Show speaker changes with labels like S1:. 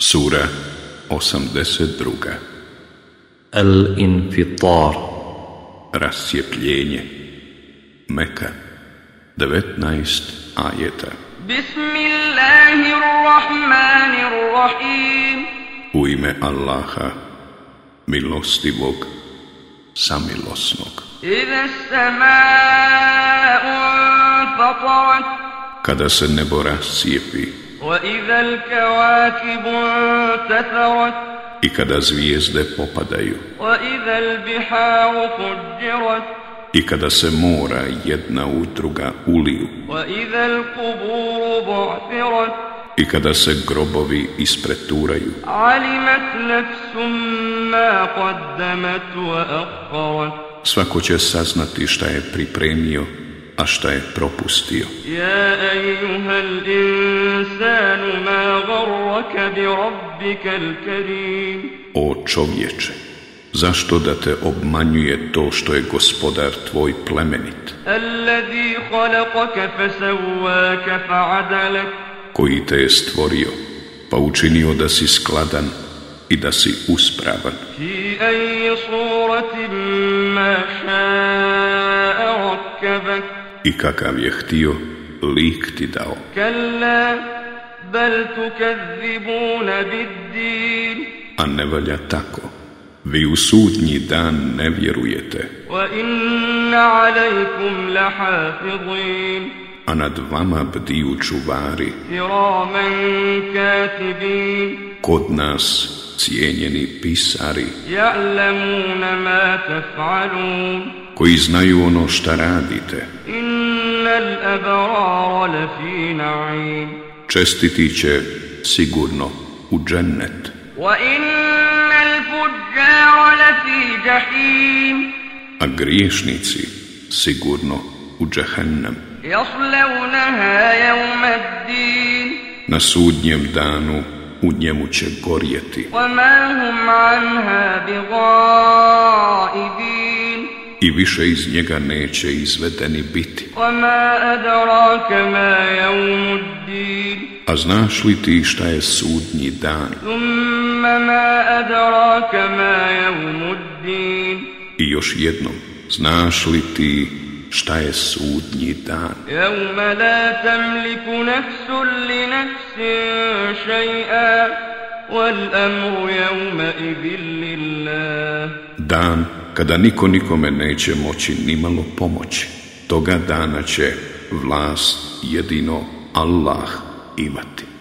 S1: Sura 82.
S2: الانفطار
S1: Rascijepljenje Meka 19 ajeta
S3: بسم الله الرحمن الرحيم
S1: U ime Allaha Milostivog Samilosnog
S3: إذا السماء انفطرت
S1: Kada se nebo rascijepi
S3: وإذا الكواكب انتثرت
S1: i kada zvijezde popadaju
S3: وإذا البحار فجرت
S1: i kada se mora jedna u druga uliju
S3: وإذا القبور بعثرت
S1: i kada se grobovi ispreturaju
S3: علمت نفس ما قدمت وأخرت
S1: Svako će saznati šta je pripremio, a šta je propustio.
S3: يا أيها الإنسان ما غرك بربك الكريم
S1: O čovječe, zašto da te obmanjuje to što je gospodar tvoj plemenit,
S3: الذي خلقك فسواك فعدلك
S1: koji te je stvorio, pa učinio da si skladan i da si uspravan,
S3: في أي صورة ما شاء ركبك
S1: i kakav je htio, lik ti dao.
S3: كلا بل تكذبون بالدين
S1: A ne valja tako. Vi u sudnji dan ne vjerujete,
S3: وإن عليكم لحافظين
S1: a nad vama bdiju čuvari,
S3: كراما كاتبين
S1: kod nas cijenjeni pisari,
S3: يعلمون ما تفعلون
S1: koji znaju ono šta radite,
S3: إن الأبرار لفي نعيم
S1: čestiti će sigurno u džennet,
S3: وإن الفجار لفي جحيم
S1: a griješnici sigurno u džehennem.
S3: يصلونها يوم الدين
S1: Na sudnjem danu u njemu će gorjeti
S3: وما هم عنها بغائبين
S1: i više iz njega neće izvedeni biti.
S3: وما أدراك ما يوم الدين
S1: A znaš li ti šta je sudnji dan
S3: ثم ما أدراك ما يوم الدين
S1: i još jednom, znaš li ti šta je sudnji dan?
S3: يوم لا تملك نفس لنفس شيئا والأمر يومئذ لله
S1: Dan kada niko nikome neće moći nimalo pomoći. Toga dana će vlast jedino Allah imati.